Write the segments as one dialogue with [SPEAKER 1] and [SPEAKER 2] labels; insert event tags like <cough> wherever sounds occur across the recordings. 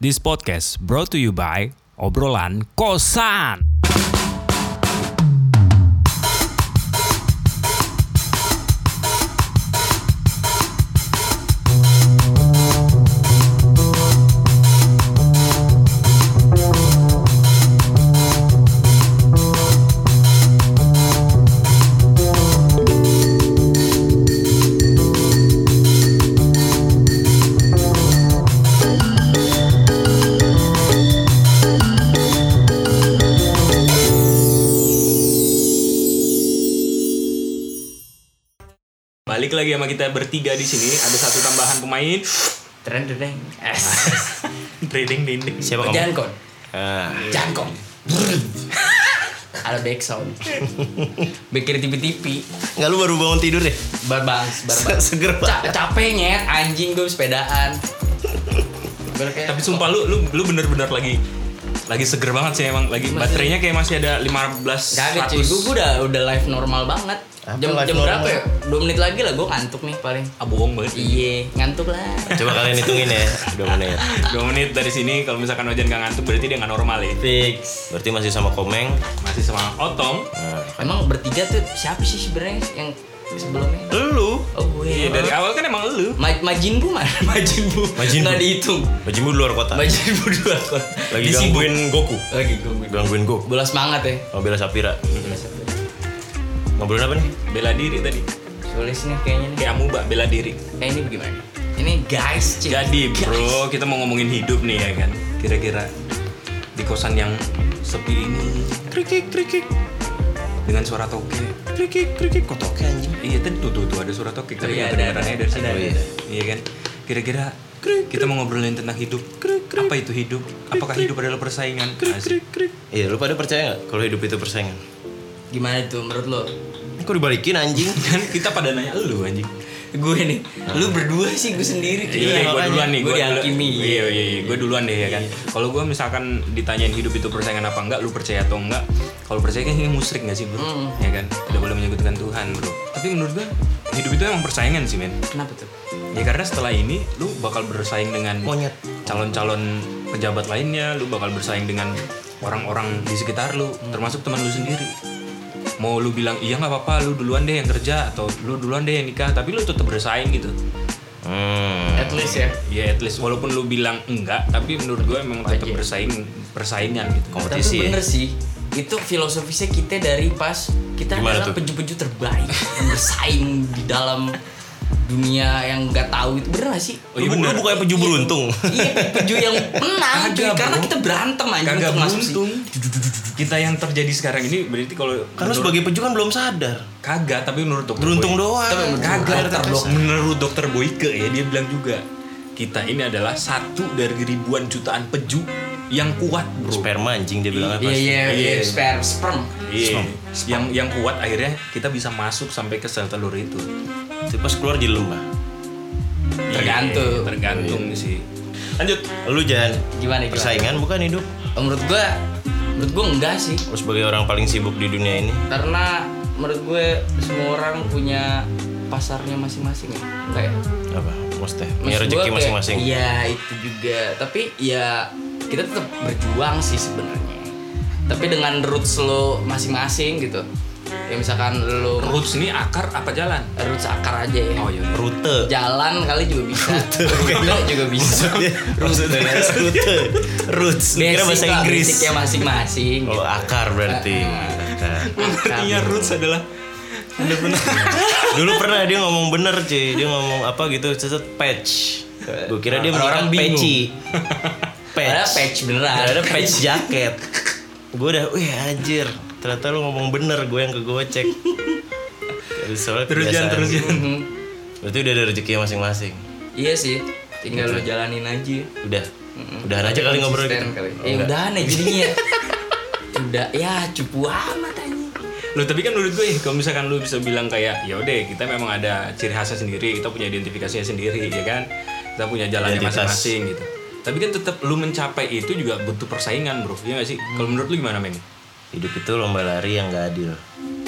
[SPEAKER 1] This podcast brought to you by Obrolan Kosan. Balik lagi sama kita bertiga di sini. Ada satu tambahan pemain.
[SPEAKER 2] Tren deng. <laughs>
[SPEAKER 1] Dinding dinding. Siapa
[SPEAKER 2] Jangan kon.
[SPEAKER 1] Ah.
[SPEAKER 2] Jangan kon. <laughs> Ada back sound. Bikin tipi-tipi.
[SPEAKER 3] Enggak lu baru bangun tidur deh.
[SPEAKER 2] Barbangs, barbangs. Ca
[SPEAKER 3] Seger banget.
[SPEAKER 2] capek nyet, anjing gue sepedaan. Gua kayak-
[SPEAKER 1] Tapi sumpah lu lu lu bener-bener lagi lagi seger banget sih emang lagi baterainya kayak masih ada 15
[SPEAKER 2] Kagak cuy, gue
[SPEAKER 1] 100
[SPEAKER 2] udah udah live normal banget.
[SPEAKER 3] Apa
[SPEAKER 2] jam
[SPEAKER 3] live
[SPEAKER 2] jam berapa
[SPEAKER 3] normal?
[SPEAKER 2] ya? Dua menit lagi lah, gue ngantuk nih paling.
[SPEAKER 1] ah bohong banget
[SPEAKER 2] Iya, ngantuk lah.
[SPEAKER 3] Coba kalian hitungin ya, udah menit.
[SPEAKER 1] 2 menit dari sini kalau misalkan Ojan gak ngantuk berarti dia gak normal ya
[SPEAKER 3] Fix. Berarti masih sama Komeng.
[SPEAKER 1] masih sama Otong
[SPEAKER 3] Nah,
[SPEAKER 2] Emang bertiga tuh siapa sih sebenarnya yang sebelumnya?
[SPEAKER 1] lu
[SPEAKER 2] Oh, gue.
[SPEAKER 1] iya dari awal kan emang lu
[SPEAKER 2] Ma Majin Bu mana? <laughs> Majin Bu.
[SPEAKER 3] Majin Bu.
[SPEAKER 2] Nggak dihitung.
[SPEAKER 3] Bajimu di luar kota.
[SPEAKER 2] Majin Bu dua kon.
[SPEAKER 3] Lagi
[SPEAKER 2] Di sibuk.
[SPEAKER 3] gangguin Goku.
[SPEAKER 2] Lagi gangguin.
[SPEAKER 3] Gangguin Goku.
[SPEAKER 2] Bola semangat ya.
[SPEAKER 3] Sama Bella Sapira. Ngobrolin apa nih?
[SPEAKER 1] bela diri tadi
[SPEAKER 2] Tulis nih kayaknya nih.
[SPEAKER 1] kayak amuba bela diri
[SPEAKER 2] Kayak ini bagaimana? Ini guys, cik.
[SPEAKER 1] Jadi bro, kita mau ngomongin hidup nih ya kan. Kira-kira di kosan yang sepi ini, krikik krikik dengan suara toke, krikik krikik kok toke anjing. Iya tadi tuh tuh, tuh ada suara toke tapi nggak
[SPEAKER 2] Iya, ada,
[SPEAKER 1] kedengerannya
[SPEAKER 2] ada,
[SPEAKER 1] dari sini.
[SPEAKER 2] ada,
[SPEAKER 1] Iya.
[SPEAKER 2] ada.
[SPEAKER 1] Iya kan. Kira-kira kita mau ngobrolin tentang hidup. Apa itu hidup? Apakah hidup adalah persaingan? Asik.
[SPEAKER 3] Iya, lu pada percaya nggak kalau hidup itu persaingan?
[SPEAKER 2] Gimana tuh menurut lo?
[SPEAKER 3] Ini Kok dibalikin anjing?
[SPEAKER 1] <laughs> Kan kita pada nanya lu anjing.
[SPEAKER 2] Gue nih, lu berdua sih gue sendiri.
[SPEAKER 1] Iya, gue
[SPEAKER 2] Iya, makanya.
[SPEAKER 1] duluan nih.
[SPEAKER 2] Gue
[SPEAKER 1] gua dulu-
[SPEAKER 2] dihakimi.
[SPEAKER 1] Iya, iya, iya. Gue duluan deh ya kan. Kalau gue misalkan ditanyain hidup itu persaingan apa enggak, lu percaya atau enggak? Kalau percaya kayaknya musyrik nggak sih bro?
[SPEAKER 2] Mm.
[SPEAKER 1] Ya kan. Tidak boleh menyebutkan Tuhan bro. Tapi menurut gue hidup itu emang persaingan sih men.
[SPEAKER 2] Kenapa tuh?
[SPEAKER 1] Ya karena setelah ini lu bakal bersaing dengan
[SPEAKER 3] Monyet.
[SPEAKER 1] calon-calon pejabat lainnya, lu bakal bersaing dengan orang-orang di sekitar lu, termasuk teman lu sendiri. Mau lu bilang iya nggak apa-apa, lu duluan deh yang kerja atau lu duluan deh yang nikah, tapi lu tetap bersaing gitu.
[SPEAKER 3] Hmm.
[SPEAKER 2] At least ya.
[SPEAKER 1] Ya at least walaupun lu bilang enggak, tapi menurut gue emang tetap bersaing persaingan gitu.
[SPEAKER 3] Kompetisi
[SPEAKER 2] Tapi
[SPEAKER 3] ya.
[SPEAKER 2] bener sih. Itu filosofisnya kita dari pas kita
[SPEAKER 3] Gimana
[SPEAKER 2] adalah
[SPEAKER 3] tuh?
[SPEAKER 2] peju-peju terbaik yang bersaing di dalam dunia yang nggak tahu itu bener gak sih?
[SPEAKER 1] Oh iya
[SPEAKER 3] Lu-
[SPEAKER 1] bener.
[SPEAKER 3] Lu bukannya peju beruntung.
[SPEAKER 2] Iya, peju yang menang cuy,
[SPEAKER 1] Kagak,
[SPEAKER 2] karena
[SPEAKER 1] bro.
[SPEAKER 2] kita berantem aja
[SPEAKER 1] Kagak
[SPEAKER 2] untuk masuk sih.
[SPEAKER 1] beruntung. Kita yang terjadi sekarang ini berarti kalau
[SPEAKER 3] Karena
[SPEAKER 1] menurut-
[SPEAKER 3] sebagai peju kan belum sadar.
[SPEAKER 1] kagak tapi menurut dokter
[SPEAKER 3] Beruntung
[SPEAKER 1] Boy-
[SPEAKER 3] doang.
[SPEAKER 2] Tapi menurut
[SPEAKER 1] Kagak
[SPEAKER 2] dokter
[SPEAKER 1] dokter
[SPEAKER 2] Boy.
[SPEAKER 1] menurut dokter Boyke ya dia bilang juga kita ini adalah satu dari ribuan jutaan peju yang kuat bro.
[SPEAKER 3] Sperma anjing dia bilang apa?
[SPEAKER 2] Iya, iya, iya,
[SPEAKER 1] Iya.
[SPEAKER 2] sperm, sperm.
[SPEAKER 1] Iya.
[SPEAKER 3] Sperm.
[SPEAKER 1] Yang yang kuat akhirnya kita bisa masuk sampai ke sel telur itu.
[SPEAKER 3] Tapi pas keluar jadi lemah.
[SPEAKER 2] Tergantung.
[SPEAKER 1] Iya, tergantung sih.
[SPEAKER 3] Lanjut. Lu jangan
[SPEAKER 2] Gimana gimana?
[SPEAKER 3] persaingan bukan hidup.
[SPEAKER 2] Menurut gua menurut gua enggak sih.
[SPEAKER 3] Lu sebagai orang paling sibuk di dunia ini.
[SPEAKER 2] Karena menurut gue semua orang punya pasarnya masing-masing ya. Enggak ya?
[SPEAKER 3] apa maksudnya
[SPEAKER 2] Maksud
[SPEAKER 3] punya
[SPEAKER 2] gua
[SPEAKER 3] rezeki
[SPEAKER 2] kayak,
[SPEAKER 3] masing-masing
[SPEAKER 2] Iya itu juga. Tapi ya kita tetap berjuang sih sebenarnya. Tapi dengan roots lo masing-masing gitu. Ya misalkan lo
[SPEAKER 1] Roots ini akar apa jalan?
[SPEAKER 2] roots akar aja ya.
[SPEAKER 1] Oh iya.
[SPEAKER 3] rute
[SPEAKER 2] Jalan kali juga
[SPEAKER 3] <laughs>
[SPEAKER 2] bisa. Rute juga bisa.
[SPEAKER 3] maksudnya rute roots Lu kira
[SPEAKER 2] Basic Ah,
[SPEAKER 3] bahasa
[SPEAKER 2] lah,
[SPEAKER 3] Inggris
[SPEAKER 2] basicnya masing-masing. gitu.
[SPEAKER 3] oh akar berarti Akar.
[SPEAKER 1] Artinya roots adalah
[SPEAKER 3] <laughs> dulu pernah dia ngomong bener cuy dia ngomong apa gitu cetet patch gue kira dia
[SPEAKER 2] Orang-orang bingung.
[SPEAKER 3] orang
[SPEAKER 2] <laughs>
[SPEAKER 3] peci patch
[SPEAKER 2] Padahal patch beneran.
[SPEAKER 3] ada patch jaket gue udah wih anjir ternyata lu ngomong bener gue yang kegocek Soalnya
[SPEAKER 1] Terus, Jan,
[SPEAKER 3] kebiasaan
[SPEAKER 1] terus,
[SPEAKER 3] gitu.
[SPEAKER 1] Jan.
[SPEAKER 2] <laughs> Mhm.
[SPEAKER 3] berarti udah ada rezeki masing-masing
[SPEAKER 2] Iya sih. Tinggal lo jalanin aja.
[SPEAKER 3] udah udahan aja Gitu. kali ngobrol
[SPEAKER 2] Konsisten
[SPEAKER 3] gitu
[SPEAKER 2] kali.
[SPEAKER 3] Oh,
[SPEAKER 2] Eh
[SPEAKER 3] enggak.
[SPEAKER 2] udahan ya
[SPEAKER 3] <laughs>
[SPEAKER 2] jadinya. Udah ya cupu amat anjing.
[SPEAKER 1] Loh tapi kan menurut gue kalau misalkan lu bisa bilang kayak ya udah kita memang ada ciri khasnya sendiri, kita punya identifikasinya sendiri ya kan. Kita punya jalannya
[SPEAKER 3] Identitas.
[SPEAKER 1] masing-masing gitu. Tapi kan tetap lu mencapai itu juga butuh persaingan, Bro. Iya gak sih?
[SPEAKER 2] Hmm.
[SPEAKER 1] Kalau menurut lu gimana, Meng?
[SPEAKER 3] Hidup itu lomba lari yang gak adil.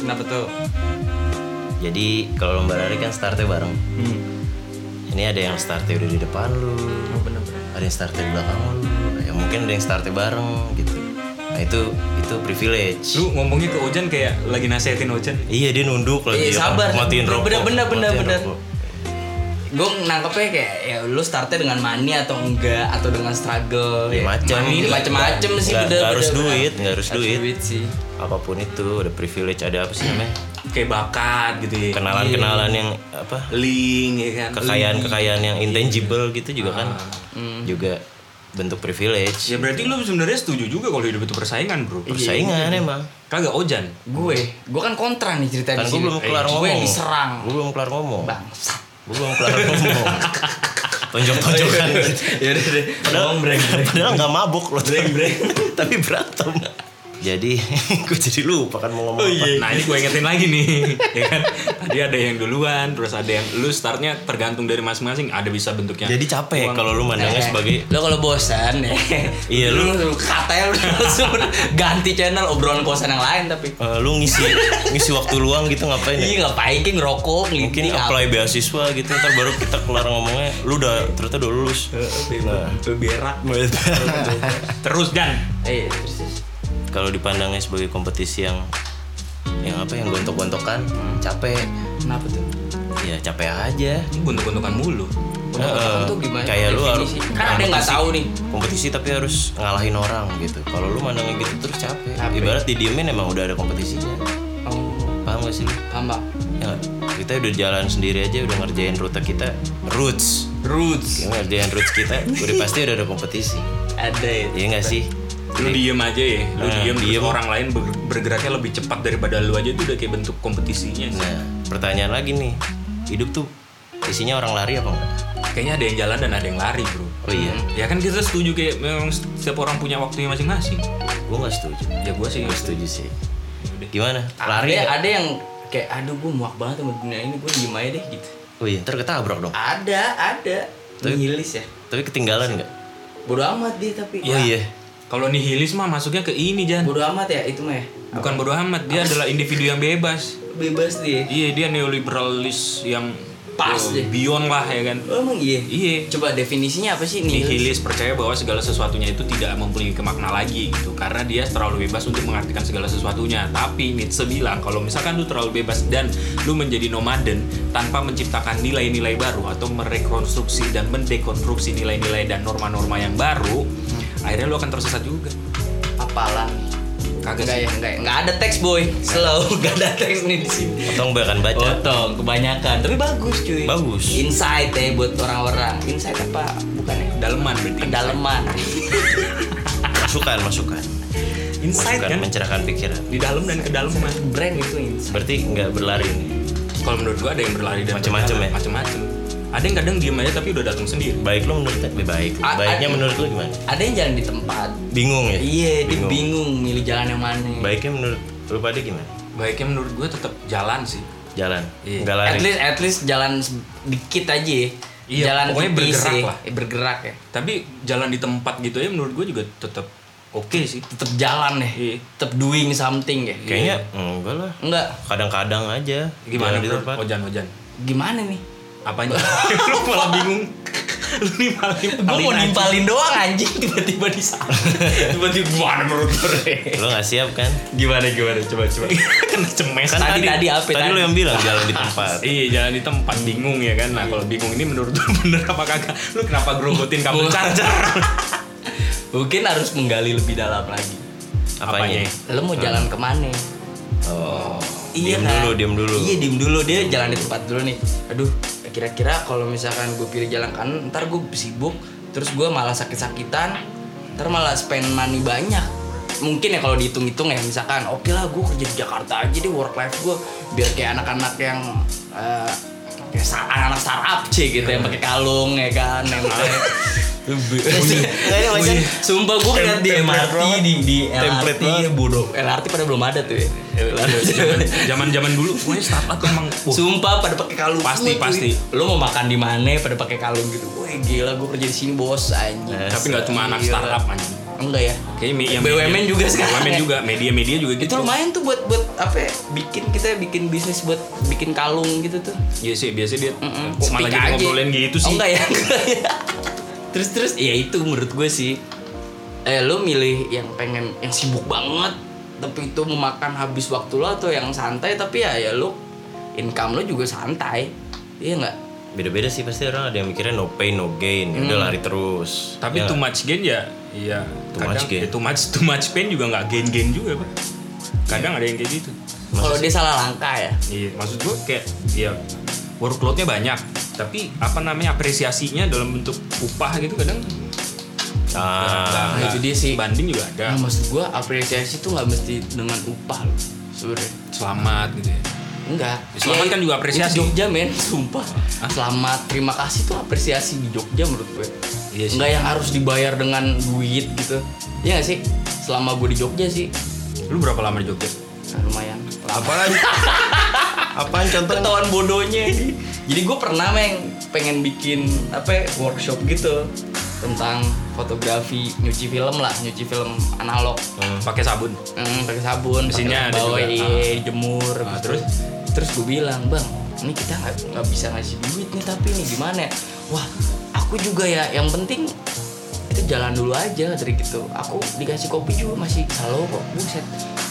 [SPEAKER 2] Kenapa tuh?
[SPEAKER 3] Jadi kalau lomba lari kan startnya bareng.
[SPEAKER 2] Hmm.
[SPEAKER 3] Ini ada yang startnya udah di depan lu,
[SPEAKER 2] Bener-bener.
[SPEAKER 3] ada yang startnya di belakang lu. Ya, mungkin ada yang startnya bareng gitu nah itu itu privilege
[SPEAKER 1] Lu ngomongnya ke Ojan kayak lagi nasehatin Ojan.
[SPEAKER 3] iya dia nunduk
[SPEAKER 2] Iya,
[SPEAKER 3] lagi ya,
[SPEAKER 2] sabar.
[SPEAKER 3] matiin
[SPEAKER 2] Bener,
[SPEAKER 3] rokok
[SPEAKER 2] bener, bener,
[SPEAKER 3] matiin
[SPEAKER 2] bener.
[SPEAKER 3] rokok.
[SPEAKER 2] gue nangkepnya kayak ya lu startnya dengan money atau enggak atau dengan struggle
[SPEAKER 3] Ya, macem.
[SPEAKER 2] Money, macem-macem sih
[SPEAKER 3] Nggak-
[SPEAKER 2] bener
[SPEAKER 3] nggak harus
[SPEAKER 2] bener, bener.
[SPEAKER 3] duit, nggak harus duit.
[SPEAKER 2] sih
[SPEAKER 3] apapun itu ada privilege ada apa sih namanya
[SPEAKER 1] Kayak bakat gitu ya.
[SPEAKER 3] kenalan-kenalan
[SPEAKER 2] Iya.
[SPEAKER 3] yang apa
[SPEAKER 1] Link ya kan.
[SPEAKER 3] kekayaan-kekayaan yang intangible gitu juga kan
[SPEAKER 2] Ah, hmm.
[SPEAKER 3] juga bentuk privilege
[SPEAKER 1] Ya
[SPEAKER 2] Iya,
[SPEAKER 1] berarti lu sebenarnya setuju juga kalau hidup itu persaingan, Bro.
[SPEAKER 2] iya,
[SPEAKER 3] persaingan emang
[SPEAKER 1] Kagak Ojan.
[SPEAKER 2] gue gue kan kontra nih cerita
[SPEAKER 3] kan
[SPEAKER 2] di
[SPEAKER 3] gue
[SPEAKER 2] sini
[SPEAKER 3] belum kelar
[SPEAKER 2] gue yang
[SPEAKER 3] ngomong
[SPEAKER 2] diserang
[SPEAKER 3] gue belum kelar ngomong
[SPEAKER 2] bangsat
[SPEAKER 3] gue belum kelar ngomong <laughs> tonjok-tonjokan gitu
[SPEAKER 2] <laughs> ya udah deh
[SPEAKER 3] padahal padahal nggak mabuk loh <laughs> tapi berantem jadi <laughs> gue jadi lupa kan mau ngomong apa
[SPEAKER 1] Nah ini gue ingetin lagi nih <laughs> ya kan? Tadi ada yang duluan Terus ada yang Lu startnya tergantung dari masing-masing Ada bisa bentuknya
[SPEAKER 3] Nah, jadi capek kalau lu mandangnya sebagai
[SPEAKER 2] lo kalau bosan ya
[SPEAKER 3] Iya, lu-
[SPEAKER 2] katanya lu langsung ganti channel obrolan kosan yang lain tapi
[SPEAKER 3] eh, lu ngisi ngisi waktu luang gitu ngapain ya?
[SPEAKER 2] iya ngapain ki ngerokok
[SPEAKER 3] mungkin
[SPEAKER 2] ngeliti, apa.
[SPEAKER 3] apply beasiswa gitu ntar baru kita kelar ngomongnya lu udah ternyata udah <laughs> lulus nah
[SPEAKER 1] Lu berak Terus Dan
[SPEAKER 2] eh terus, terus.
[SPEAKER 3] kalau dipandangnya sebagai kompetisi yang yang apa yang gontok-gontokan capek
[SPEAKER 2] kenapa tuh
[SPEAKER 3] ya capek aja
[SPEAKER 1] Ini Bentuk-bentukan mulu
[SPEAKER 2] Gontok-gontokan
[SPEAKER 3] Eh,
[SPEAKER 2] tuh gimana
[SPEAKER 3] kayak lu harus
[SPEAKER 2] Definisi. kan ada yang nggak tahu nih
[SPEAKER 3] kompetisi tapi harus ngalahin orang gitu kalau lu mandangnya gitu terus capek,
[SPEAKER 2] Capek.
[SPEAKER 3] ibarat didiemin emang udah ada kompetisinya
[SPEAKER 2] oh
[SPEAKER 3] paham gak sih lu?
[SPEAKER 2] paham Pak.
[SPEAKER 3] ya nggak? kita udah jalan sendiri aja udah ngerjain rute kita roots
[SPEAKER 2] roots
[SPEAKER 3] yang ngerjain roots kita udah pasti udah ada kompetisi
[SPEAKER 2] ada ya
[SPEAKER 3] iya nggak sih
[SPEAKER 1] Lu diem aja ya Lu
[SPEAKER 3] Nah,
[SPEAKER 1] diem, terus
[SPEAKER 3] diem.
[SPEAKER 1] orang lain ber- bergeraknya lebih cepat daripada lu aja Itu udah kayak bentuk kompetisinya sih.
[SPEAKER 3] Nah, pertanyaan lagi nih. Hidup tuh isinya orang lari apa enggak?
[SPEAKER 1] Kayaknya ada yang jalan dan ada yang lari bro
[SPEAKER 3] Oh iya,
[SPEAKER 1] Ya kan kita setuju kayak memang setiap orang punya waktunya masing-masing
[SPEAKER 3] gue nggak setuju.
[SPEAKER 1] Ya gue sih
[SPEAKER 3] Gue setuju Iya, sih. Gimana?
[SPEAKER 2] ada,
[SPEAKER 3] Lari? nggak?
[SPEAKER 2] ada yang kayak aduh gue muak banget sama dunia ini gue diem aja deh gitu
[SPEAKER 3] Oh iya, ntar ketabrak dong.
[SPEAKER 2] ada ada nihilis ya
[SPEAKER 3] Tapi ketinggalan nggak?
[SPEAKER 2] bodoh amat dia tapi
[SPEAKER 3] Oh iya.
[SPEAKER 1] Kalau nihilis mah masuknya ke ini Jan
[SPEAKER 2] bodoh amat ya itu mah ya
[SPEAKER 1] Bukan bodoh amat, dia adalah individu yang bebas.
[SPEAKER 2] bebas dia
[SPEAKER 1] Iya, dia neoliberalis yang
[SPEAKER 2] Pas
[SPEAKER 1] eh,
[SPEAKER 2] deh.
[SPEAKER 1] beyond lah ya kan.
[SPEAKER 2] oh, emang iya
[SPEAKER 1] Iya.
[SPEAKER 2] coba definisinya apa sih
[SPEAKER 3] Iya.
[SPEAKER 2] nihilis
[SPEAKER 1] Nihilis percaya bahwa segala sesuatunya itu tidak mempunyai kemakna lagi gitu karena dia terlalu bebas untuk mengartikan segala sesuatunya. Tapi Nietzsche bilang kalau misalkan lu terlalu bebas dan lu menjadi nomaden tanpa menciptakan nilai-nilai baru atau merekonstruksi dan mendekonstruksi nilai-nilai dan norma-norma yang baru,
[SPEAKER 2] Hmm.
[SPEAKER 1] akhirnya lu akan tersesat juga.
[SPEAKER 2] apalan
[SPEAKER 1] Kagak
[SPEAKER 2] enggak
[SPEAKER 1] sih.
[SPEAKER 2] ya enggak ya. enggak ada teks boy slow <laughs> enggak ada teks nih di sini
[SPEAKER 3] Potong bahkan baca.
[SPEAKER 2] potong kebanyakan tapi bagus cuy
[SPEAKER 3] Bagus.
[SPEAKER 2] insight ya buat orang-orang insight apa bukan ya
[SPEAKER 1] Daleman berarti.
[SPEAKER 2] kedalaman
[SPEAKER 3] Masukan, masukan.
[SPEAKER 1] Insight
[SPEAKER 3] Masukan
[SPEAKER 1] kan
[SPEAKER 3] mencerahkan pikiran.
[SPEAKER 1] di dalam dan kedalaman.
[SPEAKER 2] brand itu insight
[SPEAKER 3] Berarti nggak berlari nih.
[SPEAKER 1] kalau menurut gua ada yang berlari dan
[SPEAKER 3] Macem-macem
[SPEAKER 1] berjalan,
[SPEAKER 3] ya?
[SPEAKER 1] macem-macem ada yang kadang diem aja tapi udah datang sendiri
[SPEAKER 3] Baik lo menurut lebih baik.
[SPEAKER 2] A-
[SPEAKER 3] Baiknya
[SPEAKER 2] a-
[SPEAKER 3] menurut lo gimana?
[SPEAKER 2] ada yang jalan di tempat
[SPEAKER 3] Bingung ya?
[SPEAKER 2] iya dia bingung milih jalan yang mana
[SPEAKER 3] Baiknya menurut lo pada gimana?
[SPEAKER 1] baiknya menurut gua tetap jalan sih
[SPEAKER 3] Jalan.
[SPEAKER 1] Iya.
[SPEAKER 3] Nggak lari.
[SPEAKER 2] at least at least jalan sedikit aja ya.
[SPEAKER 1] Iya,
[SPEAKER 2] jalan
[SPEAKER 1] pokoknya
[SPEAKER 2] tipis
[SPEAKER 1] bergerak
[SPEAKER 2] ya.
[SPEAKER 1] lah.
[SPEAKER 2] Eh, bergerak ya
[SPEAKER 1] tapi jalan di tempat gitu ya menurut gua juga tetap oke sih
[SPEAKER 2] tetap jalan ya
[SPEAKER 1] Iya.
[SPEAKER 2] tetap doing something ya
[SPEAKER 3] Kayaknya enggak lah.
[SPEAKER 2] enggak
[SPEAKER 3] Kadang-kadang aja.
[SPEAKER 1] gimana
[SPEAKER 3] Jalan di
[SPEAKER 1] menurut
[SPEAKER 3] tempat.
[SPEAKER 2] Oh,
[SPEAKER 1] ojan ojan
[SPEAKER 2] gimana nih
[SPEAKER 1] apanya <laughs> lu malah bingung lu nih malah
[SPEAKER 2] gue mau
[SPEAKER 1] aja.
[SPEAKER 2] nimpalin doang anjing tiba-tiba di sana tiba-tiba gimana menurut lu
[SPEAKER 3] Lo nggak siap kan?
[SPEAKER 2] gimana gimana coba coba
[SPEAKER 1] <laughs> kena cemes
[SPEAKER 3] Kan
[SPEAKER 2] Tadi- tadi apa?
[SPEAKER 3] Tadi
[SPEAKER 2] Tadi.
[SPEAKER 3] lo yang bilang jalan di tempat.
[SPEAKER 1] Iya jalan di tempat bingung ya kan Nah kalau bingung ini menurut lu <laughs> bener apa kagak Lu kenapa gerogotin kabel <laughs> charger
[SPEAKER 2] mungkin harus menggali lebih dalam lagi
[SPEAKER 1] Apanya?
[SPEAKER 3] Apanya?
[SPEAKER 2] lo mau jalan kemana
[SPEAKER 3] Oh.
[SPEAKER 2] Iya
[SPEAKER 3] Diam
[SPEAKER 2] kan?
[SPEAKER 3] dulu, diam dulu.
[SPEAKER 2] Iya, diem dulu. Dia jalan di tempat dulu nih. Aduh, kira-kira kalau misalkan gue pilih jalan kanan, ntar gue sibuk, terus gue malah sakit-sakitan, ntar malah spend money banyak. Mungkin ya kalau dihitung-hitung ya, misalkan, oke lah gue kerja di Jakarta aja deh work life gue, biar kayak anak-anak yang eh, kayak sa- anak-anak startup sih gitu yang pakai kalung ya kan yang
[SPEAKER 3] <laughs>
[SPEAKER 2] pakai-
[SPEAKER 3] Nggak, ini macam-
[SPEAKER 2] <laughs> Sumpah gue ngeliat di
[SPEAKER 3] Template
[SPEAKER 2] MRT
[SPEAKER 3] banget.
[SPEAKER 2] di, di
[SPEAKER 3] Template
[SPEAKER 2] LRT
[SPEAKER 3] banget.
[SPEAKER 2] bodoh LRT Eh, pada belum ada tuh ya
[SPEAKER 1] Zaman- Iya, <laughs> Zaman-zaman dulu Pokoknya startup emang wah,
[SPEAKER 2] Sumpah pada pakai kalung.
[SPEAKER 1] Pasti,
[SPEAKER 2] semua,
[SPEAKER 1] pasti.
[SPEAKER 2] cuy. Lo mau makan di mana pada pakai kalung gitu. Woi, gila gue kerja di sini bos anjing.
[SPEAKER 3] Eh,
[SPEAKER 1] Tapi nggak cuma anak
[SPEAKER 2] Gila.
[SPEAKER 1] startup anjing
[SPEAKER 2] Enggak ya.
[SPEAKER 1] Kayaknya Iya. me- yang
[SPEAKER 2] BUMN
[SPEAKER 1] media-
[SPEAKER 2] juga sekarang
[SPEAKER 1] BUMN
[SPEAKER 2] ya.
[SPEAKER 1] juga, media-media juga gitu.
[SPEAKER 2] Itu lumayan tuh buat buat apa ya? Bikin kita bikin bisnis buat bikin kalung gitu tuh.
[SPEAKER 1] Iya sih, biasanya dia
[SPEAKER 2] Mm-mm.
[SPEAKER 1] kok malah
[SPEAKER 2] Speak Oh,
[SPEAKER 1] jadi
[SPEAKER 2] aja. <laughs>
[SPEAKER 1] ngobrolin gitu sih.
[SPEAKER 2] Oh, enggak ya. Enggak ya. terus terus ya itu menurut gue sih eh lu milih yang pengen yang sibuk banget tapi itu memakan habis waktu lo atau yang santai tapi ya ya lu income lo juga santai iya nggak
[SPEAKER 3] Beda-beda sih pasti orang ada yang mikirnya no pain no gain. Ya
[SPEAKER 2] Hmm.
[SPEAKER 3] udah lari terus.
[SPEAKER 1] Tapi
[SPEAKER 3] Ya
[SPEAKER 1] too much gain ya, iya.
[SPEAKER 3] Too much gain.
[SPEAKER 1] ya too much, too much pain juga nggak gain gain juga pak. Kadang ada yang kayak gitu.
[SPEAKER 2] kalau dia salah langkah ya
[SPEAKER 1] Iya, maksud gue kayak ya workloadnya banyak, tapi apa namanya apresiasinya dalam bentuk upah gitu kadang
[SPEAKER 3] Ah,
[SPEAKER 1] nggak-
[SPEAKER 2] itu dia sih.
[SPEAKER 1] banding juga ada.
[SPEAKER 2] nah, maksud gua apresiasi tuh nggak mesti dengan upah lo sebenarnya
[SPEAKER 1] Selamat gitu ya.
[SPEAKER 2] Enggak. Iya,
[SPEAKER 1] Selamat kan juga apresiasi.
[SPEAKER 2] itu Jogja men, sumpah. Selamat, terima kasih tuh apresiasi di Jogja menurut gue.
[SPEAKER 1] Iya sih.
[SPEAKER 2] Enggak yang harus dibayar dengan duit gitu. Iya gak sih? Selama gue di Jogja sih,
[SPEAKER 1] Lu berapa lama di Jogja?
[SPEAKER 2] nah, lumayan.
[SPEAKER 3] apaan? apaan contohnya?
[SPEAKER 2] Ketahuan bodohnya. Jadi gue pernah meng pengen bikin apa ya, workshop gitu tentang fotografi nyuci film lah, nyuci film analog.
[SPEAKER 1] Mm, Pakai sabun.
[SPEAKER 2] Hmm, pakai sabun, pakai
[SPEAKER 1] Mesinnya ada
[SPEAKER 2] bawah,
[SPEAKER 1] juga.
[SPEAKER 2] iya, jemur.
[SPEAKER 1] Ah,
[SPEAKER 2] gitu.
[SPEAKER 1] terus?
[SPEAKER 2] terus gue bilang bang, ini kita nggak nggak bisa ngasih duit nih tapi nih gimana? ya?" Wah, aku juga ya. Yang penting itu jalan dulu aja dari gitu. Aku dikasih kopi juga masih selalu kok. Buset,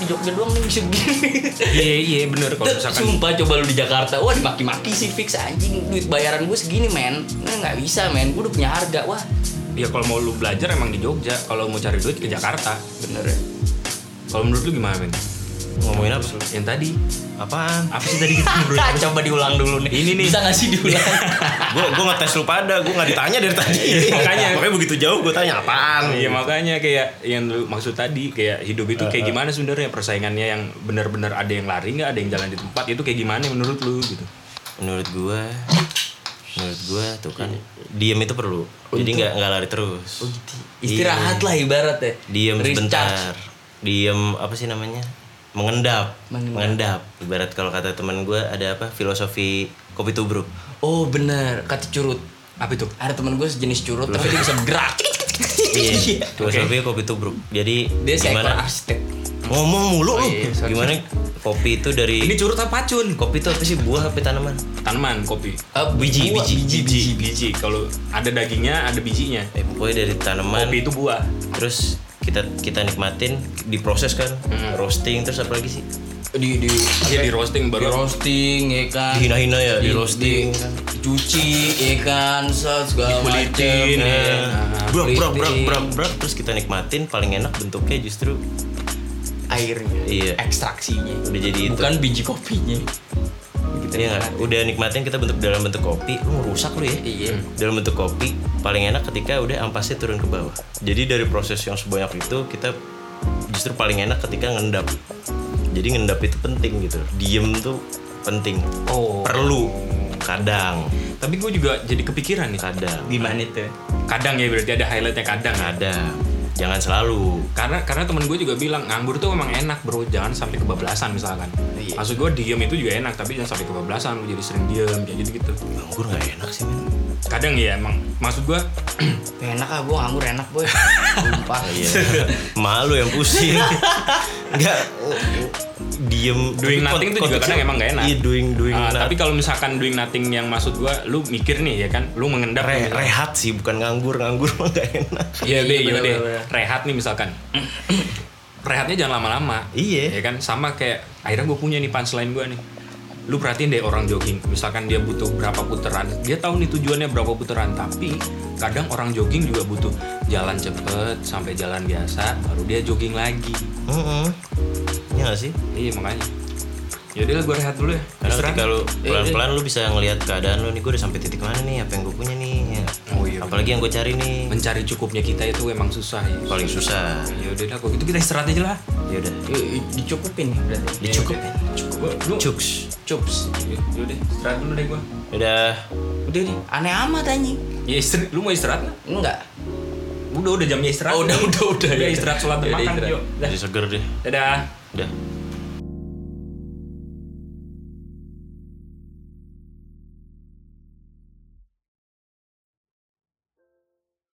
[SPEAKER 2] di Jogja doang nih bisa gini.
[SPEAKER 1] Iya iya bener
[SPEAKER 2] <laughs>
[SPEAKER 1] kalau
[SPEAKER 2] Tuh,
[SPEAKER 1] misalkan
[SPEAKER 2] Sumpah coba lu di Jakarta, wah dimaki-maki sih fix anjing duit bayaran gue segini men, Nah, nggak bisa men, gue udah punya harga
[SPEAKER 1] <laughs>
[SPEAKER 2] wah
[SPEAKER 1] ya kalau mau lu belajar emang di Jogja, kalau mau cari duit ke Jakarta.
[SPEAKER 2] bener ya.
[SPEAKER 1] Kalau menurut lu gimana, Men?
[SPEAKER 3] Ngomongin apa? Sul?
[SPEAKER 1] Yang tadi
[SPEAKER 3] Apaan?
[SPEAKER 1] apa sih tadi
[SPEAKER 2] <laughs>
[SPEAKER 1] kita ngobrol?
[SPEAKER 2] coba diulang dulu nih.
[SPEAKER 1] Ini nih.
[SPEAKER 2] Bisa nggak sih
[SPEAKER 1] Iya.
[SPEAKER 2] diulang?
[SPEAKER 3] gue gue ngetes lu pada gue nggak ditanya dari tadi
[SPEAKER 2] Iya.
[SPEAKER 1] makanya.
[SPEAKER 3] makanya begitu jauh gue tanya apaan
[SPEAKER 1] Iya makanya kayak yang lu maksud tadi kayak hidup itu kayak gimana sebenarnya persaingannya yang benar-benar ada yang lari nggak ada yang jalan di tempat itu kayak gimana menurut lu gitu.
[SPEAKER 3] menurut gue menurut gue tuh kan
[SPEAKER 2] Iya.
[SPEAKER 3] diem itu perlu jadi nggak nggak lari terus
[SPEAKER 2] Istirahat lah ibarat ya.
[SPEAKER 3] diem
[SPEAKER 2] Oh, gitu. Recharge.
[SPEAKER 3] sebentar diem apa sih namanya mengendap
[SPEAKER 2] Mengendap.
[SPEAKER 3] mengendap ibarat kalau kata teman gue ada apa filosofi kopi tubruk
[SPEAKER 2] Oh bener, kata curut.
[SPEAKER 1] Apa itu?
[SPEAKER 2] Ada teman gue sejenis curut, tapi dia bisa bergerak. <laughs>
[SPEAKER 3] iya filosofi kopi tubruk jadi
[SPEAKER 2] Dia seekor
[SPEAKER 3] gimana
[SPEAKER 2] arsitek.
[SPEAKER 3] ngomong mulu lu.
[SPEAKER 2] iya, sorry.
[SPEAKER 3] gimana kopi itu dari
[SPEAKER 1] Ini curut apa pacun?
[SPEAKER 3] kopi itu apa sih buah apa tanaman
[SPEAKER 1] Tanaman kopi.
[SPEAKER 2] Eh,
[SPEAKER 3] Biji,
[SPEAKER 2] buah,
[SPEAKER 3] biji,
[SPEAKER 2] biji.
[SPEAKER 1] Biji, biji. Kalau ada dagingnya, ada bijinya.
[SPEAKER 3] eh, pokoknya dari tanaman
[SPEAKER 1] Kopi itu buah.
[SPEAKER 3] terus kita kita nikmatin diproses kan
[SPEAKER 2] Hmm.
[SPEAKER 3] roasting terus apa lagi sih
[SPEAKER 2] Di di
[SPEAKER 1] Iya di roasting
[SPEAKER 2] di
[SPEAKER 1] baru.
[SPEAKER 2] roasting ya kan.
[SPEAKER 3] dihina-hina ya di roasting
[SPEAKER 2] cuci ya kan, set, segala macam.
[SPEAKER 1] Dibulitin, ya.
[SPEAKER 3] Nah, brak brak brak brak brak terus kita nikmatin paling enak bentuknya justru
[SPEAKER 2] Airnya,
[SPEAKER 3] Iya.
[SPEAKER 2] ekstraksinya.
[SPEAKER 3] udah jadi itu
[SPEAKER 1] Kan
[SPEAKER 2] Bukan biji kopinya.
[SPEAKER 3] Iya nggak? udah nikmatin kita bentuk dalam bentuk kopi lu ngerusak lu ya
[SPEAKER 2] Iya.
[SPEAKER 3] dalam bentuk kopi paling enak ketika udah ampasnya turun ke bawah jadi dari proses yang sebanyak itu kita justru paling enak ketika ngendap jadi ngendap itu penting gitu diem tuh penting
[SPEAKER 1] Oh.
[SPEAKER 3] perlu kadang
[SPEAKER 1] Tapi gue juga jadi kepikiran nih.
[SPEAKER 3] kadang
[SPEAKER 2] Gimana itu?
[SPEAKER 1] Kadang ya berarti ada highlightnya kadang. ya.
[SPEAKER 3] ada jangan selalu
[SPEAKER 1] Karena karena temen gue juga bilang nganggur tuh emang enak bro, jangan sampai kebablasan misalkan.
[SPEAKER 2] Iya.
[SPEAKER 1] Maksud gue diem itu juga enak, tapi jangan sampai kebablasan, lu jadi sering diem kayak gitu gitu.
[SPEAKER 3] nganggur nggak enak sih men
[SPEAKER 1] Kadang ya emang, maksud gue
[SPEAKER 2] Enak ah, gue nganggur enak
[SPEAKER 3] <laughs>
[SPEAKER 2] boy. Sumpah.
[SPEAKER 3] iya <laughs> malu yang pusing nggak diem
[SPEAKER 1] Doing
[SPEAKER 3] Tapi
[SPEAKER 1] nothing tuh juga
[SPEAKER 3] konteksnya-
[SPEAKER 1] kadang emang nggak enak.
[SPEAKER 3] iya doing doing
[SPEAKER 1] Ah,
[SPEAKER 3] nothing.
[SPEAKER 1] tapi kalau misalkan doing nothing yang maksud gue, lu mikir nih ya kan, lu mengendap.
[SPEAKER 3] Re-
[SPEAKER 1] nih.
[SPEAKER 3] rehat sih bukan nganggur nganggur <laughs> mah nggak enak
[SPEAKER 1] Iya deh, iya
[SPEAKER 2] bener,
[SPEAKER 1] deh.
[SPEAKER 2] bener.
[SPEAKER 1] Rehat nih misalkan. Rehatnya jangan lama-lama.
[SPEAKER 3] Iya.
[SPEAKER 1] Ya kan sama kayak akhirnya gue punya nih punchline gue nih. Lu perhatiin deh orang jogging, misalkan dia butuh berapa putaran, dia tahu nih tujuannya berapa putaran, tapi kadang orang jogging juga butuh jalan cepet sampai jalan biasa, baru dia jogging lagi.
[SPEAKER 3] Heeh. Iya nggak sih
[SPEAKER 1] Iya makanya. Yaudah lah gue rehat dulu ya.
[SPEAKER 3] karena
[SPEAKER 1] Istirahat.
[SPEAKER 3] ketika lu pelan-pelan lu bisa ngelihat keadaan lu nih gue udah sampai titik mana nih apa yang gue punya nih ya.
[SPEAKER 1] Oh iya.
[SPEAKER 3] apalagi yang gue cari nih
[SPEAKER 1] Mencari cukupnya kita itu emang susah ya.
[SPEAKER 3] paling susah
[SPEAKER 1] Yaudah lah, kalau gitu kita istirahat aja lah.
[SPEAKER 3] ya udah ya?
[SPEAKER 2] Eh, Dicukupin nih berarti.
[SPEAKER 3] dicukupin
[SPEAKER 1] Cukup. Lu,
[SPEAKER 3] cuks
[SPEAKER 2] Cups.
[SPEAKER 1] Yaudah, Ya istirahat dulu deh gue.
[SPEAKER 3] udah
[SPEAKER 2] Udah nih, aneh amat anjing.
[SPEAKER 1] Ya istri, lu mau istirahat nggak?
[SPEAKER 2] Enggak.
[SPEAKER 1] Udah udah jamnya istirahat.
[SPEAKER 2] Oh, udah, udah, udah,
[SPEAKER 1] Udah
[SPEAKER 2] ya.
[SPEAKER 1] istirahat sholat dan
[SPEAKER 2] Udah,
[SPEAKER 1] makan
[SPEAKER 2] istirahat.
[SPEAKER 1] yuk. Dah.
[SPEAKER 3] jadi seger deh
[SPEAKER 1] Dadah.
[SPEAKER 3] udah